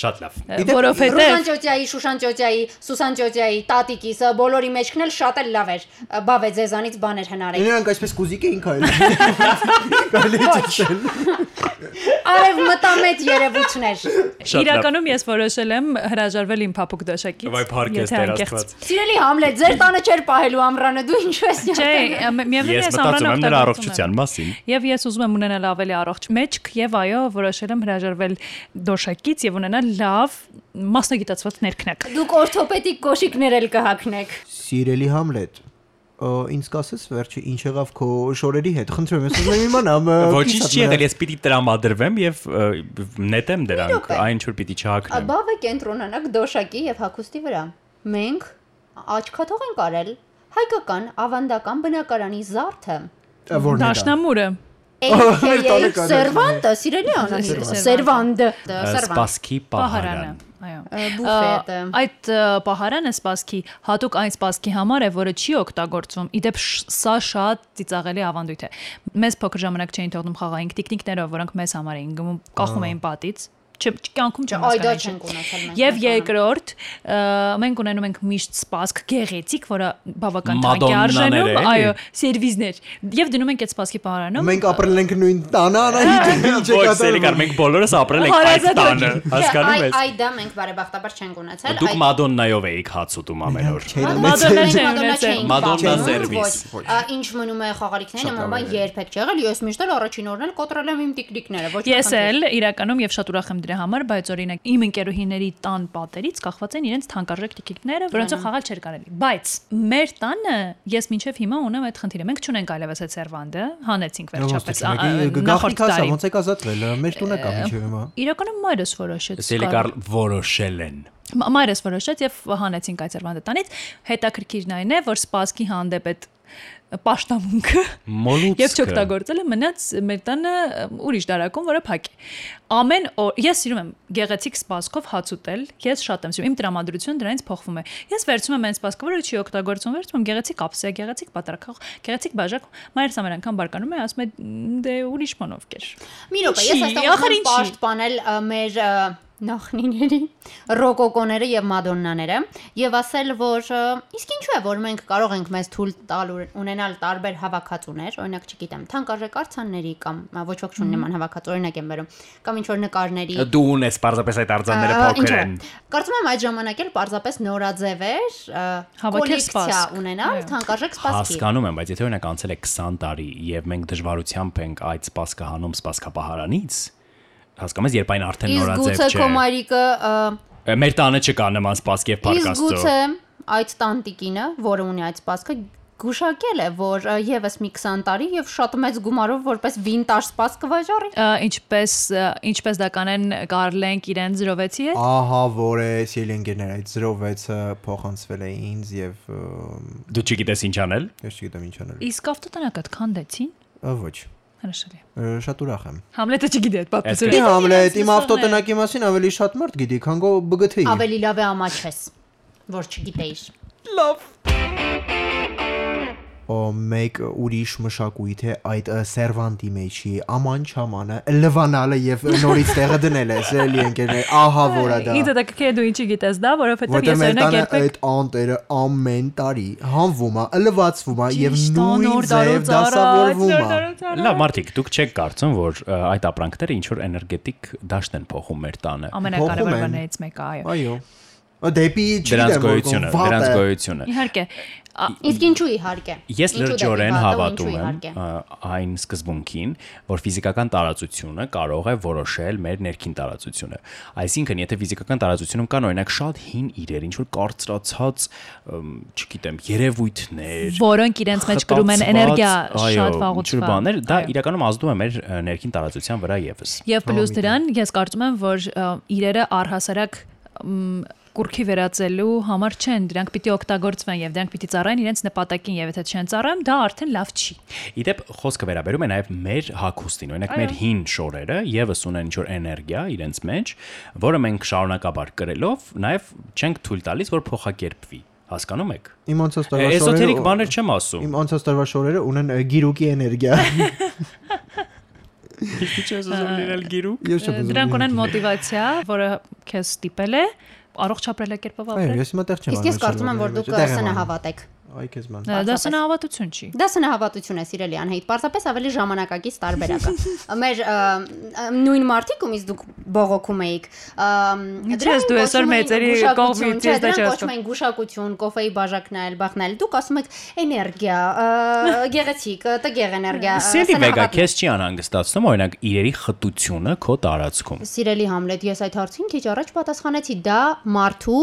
Speaker 3: շատ լավ
Speaker 4: որովհետեւ
Speaker 2: Ռուզանջոջայի, Շուշանջոջայի, Սուսանջոջայի, տատիկիս ա, բոլորի մեջքն էլ շատ էլ լավ էր։ ա, Բավ է ձեզանից բաներ հնարել։
Speaker 1: նրանք այսպես կուզիկ էին քայլել։ Կարելի է ճիշտ։
Speaker 2: Արև մտամետ երևույթներ։
Speaker 3: շատ լավ
Speaker 4: իրականում ես որոշել եմ հրաժարվել իմ փափուկ դաշակից։
Speaker 3: վայ փարկես
Speaker 4: եթե
Speaker 3: դեր
Speaker 4: անկեղծ-
Speaker 3: աստված
Speaker 2: Սիրելի Համլետ, ձեր տանը չեր պահելու ամրանը, դու ինչու ես
Speaker 4: Չէ,
Speaker 2: նյութել։
Speaker 4: միևնույն է
Speaker 3: ես մտածում եմ նրա առողջության մասին
Speaker 4: Եվ ես ուզում եմ ունենալ ավելի առողջ մեջք եւ այո, որոշել եմ հրաժարվել դոշակից եւ ունենալ լավ մասնագիտացված ներքնակ։
Speaker 2: Դուք օրթոպեդիկ կոշիկներ էլ կհակնեք։
Speaker 1: Սիրելի Համլետ, ո, ինձ կասես վերջը ինչ եղավ քո շորերի հետ։ Խնդրեմ, ես ուզում եմ իմանամ։ ը,
Speaker 3: ոչինչ
Speaker 1: կիսատ
Speaker 3: չի եղել
Speaker 1: նրա-
Speaker 3: ես պիտի տրամադրվեմ եւ ը, նետեմ դրանք
Speaker 2: րոպե։
Speaker 3: այն ինչ որ պիտի չհակնեմ
Speaker 2: Բավը կենտրոնանակ դոշակի եւ հագուստի վրա։ Մենք աչքաթող ենք արել հայկական ավանդական բնակարանի զարդը։
Speaker 1: ը, Որն է։ դա։
Speaker 4: Դաշնամուրը։
Speaker 1: մեր տանը կա
Speaker 2: AKA
Speaker 1: դա։
Speaker 2: Սերվանտը, սիրելի Անահիտ, Սերվանտը, Սերվանտ։
Speaker 3: սպասքի պահարան
Speaker 4: Այո։
Speaker 2: Ա, բուֆետը։
Speaker 4: Ա, Այդ ա, պահարանը սպասքի հատուկ այն սպասքի համար է, որը չի օգտագործվում։ Իդեպ շ- սա շատ ծիծաղելի ավանդույթ է։ Մեզ փոքր ժամանակ չէին թողնում խաղայինք տիկնիկներով, որոնք մեզ համար էին գնում, կախում էին պատից։ Չեմ չ- կյանքում չեմ
Speaker 2: Այ դա
Speaker 4: հասկանում։
Speaker 2: չենք ունեցել մենք,
Speaker 4: Եվ
Speaker 2: մենք
Speaker 4: երկրորդ, ա, մենք ունենում ենք միշտ սպասք գեղեցիկ, որը բավական թանկ է
Speaker 3: Մադոննաներ
Speaker 4: արժենում,
Speaker 3: էլի։
Speaker 4: այո, սերվիզներ։ Եվ դնում ենք այդ սպասքի պահարանում։
Speaker 1: Մենք ապրել ենք նույն տանը, Անահիտ, ինչ է
Speaker 3: ոչ սելիկար
Speaker 1: կատարվում։
Speaker 3: մենք բոլորս ապրել ենք այդ
Speaker 4: Հարազատ
Speaker 3: տանը հասկանում
Speaker 2: Այ
Speaker 3: ես
Speaker 2: այ դա մենք բարեբախտաբար չենք ունեցել։
Speaker 3: Դուք մադոննայով էիք հաց ուտում ամեն օր։
Speaker 4: Մադոննա չէ
Speaker 3: Մադոննա սերվիս։
Speaker 2: սերվիս։ Ինչ մնում է խաղալիքներին,
Speaker 1: Շատ
Speaker 2: նման
Speaker 1: ավելի։
Speaker 2: երբեք չեղել, ես միշտ էլ առաջին օրն էլ կոտրել եմ իմ տիկնիկները, ոչ
Speaker 4: Ես էլ իրականում եւ շատ ուրախ եմ դրա համար, բայց օրինակ իմ ընկերուհիների տան պատերից կախված են իրենց թանկարժեք տիկիկները, որոնցով խաղալ չէր կարելի։ Բայց մեր տանը ես մինչեւ հիմա ունեմ այդ խնդիրը։ Մենք չունենք այլևս այդ սերվանդը, հանեցինք վերջապես ա- ա-
Speaker 1: Գախնիկ
Speaker 4: նախորդ
Speaker 1: հասա,
Speaker 4: տարի։
Speaker 1: ոնց է կազատվել։ ը, Մեր տունը կա միջև հիմա։
Speaker 4: Իրականում մայրս որոշեց։
Speaker 3: Սելիկար որոշել են։
Speaker 4: Մ- մայրս որոշեց եւ հանեցինք այդ սերվանդը տանից։ Հետաքրքիրն այն է, որ սպասքի հանդեպ այդ պաշտամունքը
Speaker 3: Մոլուցքը։
Speaker 4: Եվ չօգտագործել եմ մնաց մեր տանը ըմ, ուրիշ դարակում, որը փակ է։ Ամեն օր ես սիրում եմ գեղեցիկ սպասքով հաց ուտել, ես շատ եմ սիրում։ Իմ տրամադրությունը դրանից փոխվում է։ Ես վերցնում եմ այն սպասքը, որը չի օգտագործվում, վերցնում եմ գեղեցիկ ապսե, գեղեցիկ պատրակող, գեղեցիկ բաժակ։ Մայրս ամեն անգամ բարկանում է, ասում է «Մ, դե ուրիշ բանով կեր։
Speaker 2: Մի րոպե,
Speaker 4: Ինչի,
Speaker 2: ես այստեղ ուզում եմ
Speaker 4: ախր ինչի։
Speaker 2: պաշտպանել ա, մեր ա, նախնիների ռոկոկոները եւ մադոննաները եւ ասել որ ա, իսկ ինչու է որ մենք կարող ենք մեզ թույլ տալ ու- ունենալ տարբեր հավաքածուներ օրինակ չգիտեմ թանկարժեք արցանների կամ ա, ոչ ոք չունի նման հավաքած օրինակ եմ վերում կամ ինչ որ նկարների
Speaker 3: Դու ունես parzapes այդ արձանները
Speaker 2: Ա,
Speaker 3: փոքր
Speaker 2: ինչու է։
Speaker 3: են։
Speaker 2: Կարծում եմ այդ ժամանակ էլ պարզապես նորաձևեր ա,
Speaker 4: Հավաքել
Speaker 2: կոլեկցիա
Speaker 4: սպասք,
Speaker 2: ունենալ
Speaker 4: այո։
Speaker 2: թանկարժեք սպասքի։
Speaker 3: Հասկանում եմ, բայց եթե օրինակ անցել է 20 տարի եւ մենք դժվարությամբ ենք այդ սպասքը հանում սպասքապահարանից, հասկանում ես, երբ այն արդեն
Speaker 2: Իսկ գուցե
Speaker 3: նորաձև
Speaker 2: քո
Speaker 3: չէ։
Speaker 2: մայրիկը ա,
Speaker 3: Ա, Մեր տանը չկա նման սպասք եւ
Speaker 2: Իսկ
Speaker 3: պարկաստո։
Speaker 2: գուցե այդ տանտիկինը, որը ունի այդ սպասքը, գուշակել է, որ ը, եւս մի 20 տարի եւ շատ մեծ գումարով որպես վինտաժ սպասք կվաճառի։
Speaker 4: Ա, Ինչպես ա, ինչպես դա կանեն Կարլենք իրեն 06-ի հետ։
Speaker 1: Ահա որ է սիլինգերներ այդ 06-ը փոխանցվել է ինձ եւ ը,
Speaker 3: Դու չգիտես ինչ անել։
Speaker 1: ես չգիտեմ ինչ անել։
Speaker 4: Իսկ ավտոտնակը քանդեցին։
Speaker 1: Ա, Ոչ։
Speaker 4: Հրաշալի։
Speaker 1: ը, Շատ ուրախ եմ։
Speaker 4: Համլետը չգիտի այդ
Speaker 1: Դե
Speaker 4: պատմությունը։
Speaker 1: Համլետ, իմ ավտոտնակի մասին ավելի շատ մարդ գիտի, քան գո բգթեի։
Speaker 2: Ավելի լավ է ամաչես, որ չգիտեիր։
Speaker 1: Ո, մեկ ուրիշ մշակույթ է այդ ը, սերվանտի մեջի ամանչամանը լվանալը եւ նորից տեղը դնելը սելի ընկերներ ահա որա դա
Speaker 4: Ինձ դա կգե դու ինչի գիտես դա, որովհետեւ
Speaker 1: որտեղ
Speaker 4: ես
Speaker 1: մեր տանը
Speaker 4: օրինակ երբեք
Speaker 1: այդ անտերը ամեն տարի հանվում է լվացվում է եւ
Speaker 4: Ճիշտ,
Speaker 1: նույն
Speaker 4: նոր
Speaker 1: ձև
Speaker 4: դարոց առաջ, նոր
Speaker 1: դասավորվում է
Speaker 4: դարոց առաջ։
Speaker 3: Լավ, մարդիկ, դուք չեք կարծում, որ ա, այդ ապրանքները ինչ որ էներգետիկ դաշտ են փոխում մեր տանը։
Speaker 4: Ամենակարևոր
Speaker 1: Փոխում են։
Speaker 4: բաներից մեկը, այո։
Speaker 1: այո Դեպի չի
Speaker 3: դրանց
Speaker 1: դեմ, որ
Speaker 3: գոյությունը,
Speaker 1: վատ
Speaker 3: դրանց
Speaker 1: է։
Speaker 3: գոյությունը։
Speaker 4: Իհարկե, ա,
Speaker 2: Իսկ ինչու իհարկե։
Speaker 3: Ես
Speaker 2: Ինչու
Speaker 3: լրջորեն
Speaker 2: դեպի վատը ու ինչու
Speaker 3: հավատում եմ
Speaker 2: իհարկե։
Speaker 3: ա, այն սկզբունքին, որ ֆիզիկական տարածությունը կարող է որոշել մեր ներքին տարածությունը։ Այսինքն, եթե ֆիզիկական տարածությունում կան օրինակ շատ հին իրեր, ինչ որ կարծրացած, ըմ, չգիտեմ, երևույթներ,
Speaker 4: որոնք իրենց մեջ կրում են
Speaker 3: խտացված,
Speaker 4: էներգիա
Speaker 3: այո,
Speaker 4: շատ
Speaker 3: ինչ-որ
Speaker 4: վաղուց։
Speaker 3: բաներ, դա իրականում ազդում է մեր ը, ներքին տարածության վրա եւս։
Speaker 4: Եվ պլյուս դրան ես կարծում եմ, որ ը, իրերը առհասարակ մ, կուրքի վերածելու համար չեն, դրանք պիտի օգտագործվեն եւ դրանք պիտի ծառայեն իրենց նպատակին եւ եթե չեն ծառայում, դա արդեն լավ չի։
Speaker 3: Իդեպ խոսքը վերաբերում է նաև մեր հակոստին, օրինակ մեր հին շորերը եւս ունեն ինչ-որ էներգիա իրենց մեջ, որը մենք շարունակաբար կրելով նաև չենք թույլ տալիս, որ փոխակերպվի։ Հասկանում եք։
Speaker 1: Իմ անցած
Speaker 3: Է,
Speaker 1: տարվա
Speaker 3: Էզոթերիկ
Speaker 1: շորերը
Speaker 3: բաներ չեմ ասում։
Speaker 1: Իմ անցած տարվա շորերը ունեն ը, գիրուկի էներգիա։
Speaker 3: Քիչ ես ուզում լինել գիրու։
Speaker 1: Ես չեմ ուզում։
Speaker 4: Դրանք ունեն մոտիվացիա, որը քեզ ստիպել է առողջ ապրելակերպով
Speaker 1: Այո,
Speaker 4: ապրել։
Speaker 1: ես հիմա տեղ չեմ
Speaker 2: Իսկ ես կարծում եմ, որ դուք
Speaker 1: Դե,
Speaker 2: ը, սնահավատեք։
Speaker 1: Այ քեզ ման։
Speaker 4: Ա, Դա սնահավատություն չի։
Speaker 2: Դա սնահավատություն է, սիրելի Անհիտ, պարզապես ավելի ժամանակակից
Speaker 4: [laughs]
Speaker 2: տարբերակ է։ Մեր ը, ը, նույն մարդիկ, ումից դուք բողոքում էիք, ը,
Speaker 4: Ինչ
Speaker 2: դրանին
Speaker 4: ես դու այսօր
Speaker 2: կոչում էին
Speaker 4: մեծերի
Speaker 2: գուշակություն, չէ, դրան Կոչում են գուշակություն, կոֆեի բաժակնել,
Speaker 4: կողմից, ես դա չի
Speaker 2: բախնել։ Դուք ասում եք էներգիա, ը, գեղեցիկ, ը, տգեղ էներգիա։ ը,
Speaker 3: Սիրելի Վեգա,
Speaker 2: սնահավատ։
Speaker 3: քեզ չի անհանգստացնում օրինակ իրերի խտությունը քո տարածքում։
Speaker 2: Սիրելի Համլետ, ես այդ հարցին քիչ առաջ պատասխանեցի, դա մարդու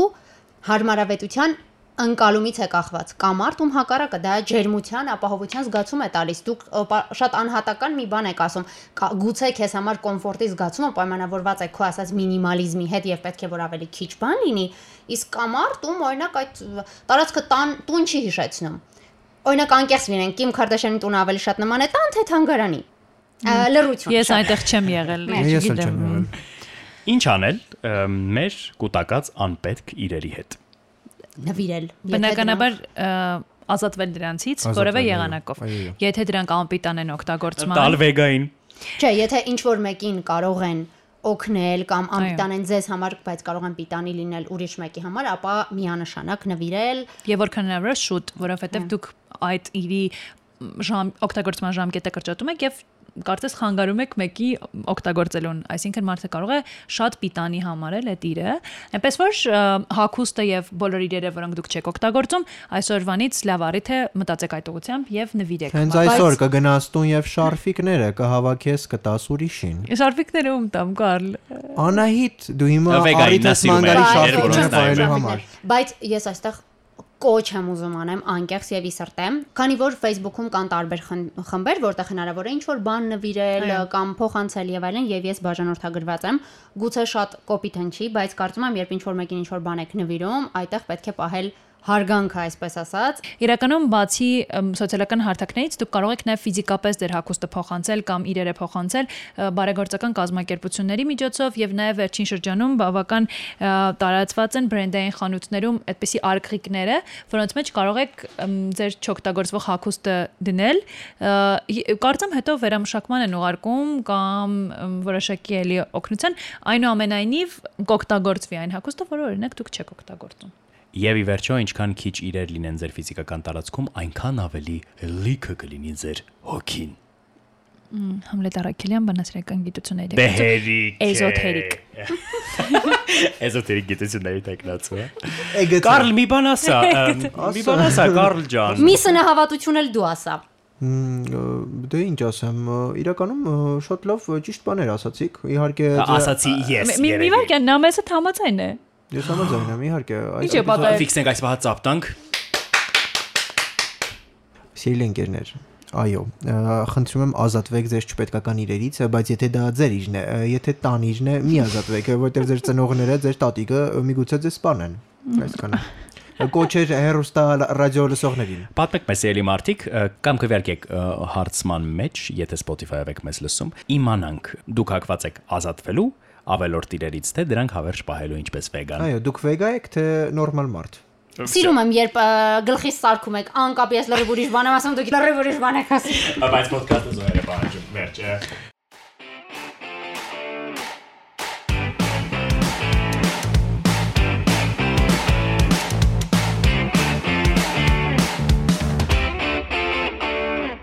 Speaker 2: հարմարավետության անկալումից է կախված։ Կամ արդում հակառակը դա ջերմության, ապահովության զգացում է տալիս։ Դուք ը, պա- շատ անհատական մի բան եք ասում։ կա- Գուցե քեզ համար կոմֆորտի զգացումը պայմանավորված է քո ասած մինիմալիզմի հետ եւ պետք է որ ավելի քիչ բան լինի, իսկ կամ արդում օրինակ այդ ը, տարածքը տան տուն չի հիշեցնում։ Օրինակ անկեղծ լինենք, Kim Kardashian-ի տունը ավելի շատ նման է տան թե թանգարանի։ Ա, Լռություն։
Speaker 4: Ես այնտեղ չեմ եղել,
Speaker 1: Ես էլ
Speaker 4: չգիտեմ։
Speaker 1: չեմ եղել։
Speaker 3: Ինչ անել ը, մեր կൂട്ടակած անպետք իրերի հետ։
Speaker 2: նվիրել։ եթե
Speaker 4: Բնականաբար ա, ազատվել դրանցից
Speaker 1: Ազատվել,
Speaker 4: որևէ
Speaker 1: այո,
Speaker 4: եղանակով։
Speaker 1: այո, այո։
Speaker 4: Եթե դրանք անպիտան են օգտագործման,
Speaker 3: Տալ Վեգային։
Speaker 2: Չէ, եթե ինչ որ մեկին կարող են օգնել կամ անպիտանեն ձեզ համար, բայց կարող են պիտանի լինել ուրիշ մեկի համար, ապա միանշանակ նվիրել։
Speaker 4: եւ որքան հնարավոր է շուտ, որովհետեւ դուք այդ իրի ժամ օգտագործման ժամկետը կրճատում եք եւ կարծես խանգարում եք մեկի օգտագործելուն, այսինքն մարդը կարող է շատ պիտանի համարել այդ իրը, այնպես որ ը, հակուստը եւ բոլոր իրերը, որոնք դուք չեք օգտագործում, այսօրվանից լավ առիթ է մտածեք այդ ուղությամբ եւ նվիրեք։
Speaker 1: Հենց
Speaker 4: Բայց
Speaker 1: այսօր կգնաս տուն եւ շարֆիկները կհավաքես կտաս ուրիշին։
Speaker 4: Շարվիկներում տամ Կարլ։
Speaker 1: Անահիտ, դու հիմա
Speaker 3: Վեգային նա
Speaker 1: առիթս
Speaker 3: սիրում է
Speaker 1: մանգարի
Speaker 3: իրեր,
Speaker 1: շարֆիկները
Speaker 2: Բայց-
Speaker 3: որոնց նայում
Speaker 1: վայելու
Speaker 3: է։
Speaker 1: համար։
Speaker 2: Բայց ես այստեղ կոչ եմ ուզում անեմ անկեղծ եւ իսրտեմ, քանի որ Facebook-ում կան տարբեր խն- խմբեր, որտեղ հնարավոր է ինչ-որ բան նվիրել
Speaker 4: Այո։
Speaker 2: կամ փոխանցել եւ այլն, եւ ես բաժանորդագրված եմ։ Գուցե շատ կոպիտ հնչի, բայց կարծում եմ, երբ ինչ-որ մեկին ինչ-որ բան եք նվիրում, այդտեղ պետք է պահել հարգանքը, այսպես ասած,
Speaker 4: Իրականում բացի ըմ, սոցիալական հարթակներից դուք կարող եք նաև ֆիզիկապես ձեր հագուստը փոխանցել կամ իրերը փոխանցել ը, բարեգործական կազմակերպությունների միջոցով եւ նաև վերջին շրջանում բավական ը, տարածված են բրենդային խանութներում այդպիսի արկղիկները, որոնց մեջ կարող եք ըմ, ձեր չօգտագործվող հագուստը դնել։ ը, ե- Կարծեմ հետո վերամշակման են ուղարկում կամ ըմ, որոշակի էլի օգնության, այնուամենայնիվ կօգտագործվի այն հագուստը, որը օրինակ դուք չեք օգտագործում։
Speaker 3: Եվ ի վերջո, ինչքան քիչ իրեր լինեն ձեր ֆիզիկական տարածքում, այնքան ավելի լիքը կլինի ձեր հոգին։
Speaker 4: Համլետ Արաքելյան բանասիրական գիտությունների
Speaker 3: Դե հերիք։
Speaker 4: Էզոթերիկ։
Speaker 3: [laughs] Էզոթերիկ գիտությունների տեխնացու։ հա։
Speaker 1: Էգեցի։
Speaker 3: Կարլ, մի բան
Speaker 4: [laughs]
Speaker 3: ասա, ըմ, մի բան ասա, Կարլ ջան։
Speaker 2: Մի սնահավատություն էլ դու ասա։
Speaker 1: Մ, ը, Դե ինչ ասեմ, ը, իրականում ը, շատ լավ ը, ճիշտ բաներ ասացիք։ Իհարկե դե, դա-
Speaker 3: Ասացի ես։
Speaker 4: Մի մի վարք նա մեզ հետ համաձայն է։
Speaker 1: ես համաձայն եմ, իհարկե, այս
Speaker 4: Ինչ է պատահել։
Speaker 3: ֆիքսենք այս բանը ծապտանք։
Speaker 1: սիրելի ընկերներ։ Այո, ը, խնդրում եմ ազատվեք ձեր չպետքական իրերից, ը, բայց եթե դա ձեր իրն է, ը, եթե տան իրն է, մի ազատվեք, ը, որտեղ ձեր ծնողները, ձեր տատիկը ը, միգուցե ձեզ սպանեն։ Այսքան։ Կոչեր հերոստա ռադիո լսողներին։
Speaker 3: Պատմեք մեզ ելի մարտիկ կամ քվերկեք հարցման մեջ, եթե Spotify-ով եք մեզ լսում, իմանանք դուք հակված եք ազատվելու ավելորտ իրերից, թե դրանք հավերժ պահելու ինչպես վեգան։
Speaker 1: Այո, դուք վեգա եք թե նորմալ մարդ։
Speaker 2: Սիրում եմ, երբ ը, գլխիս սարքում եք, անկապ ես լրիվ ուրիշ բան եմ ասում, դուք լրիվ ուրիշ բան եք ասում։
Speaker 3: Բայց ոդկասթը զոհերը բանջում վերջը։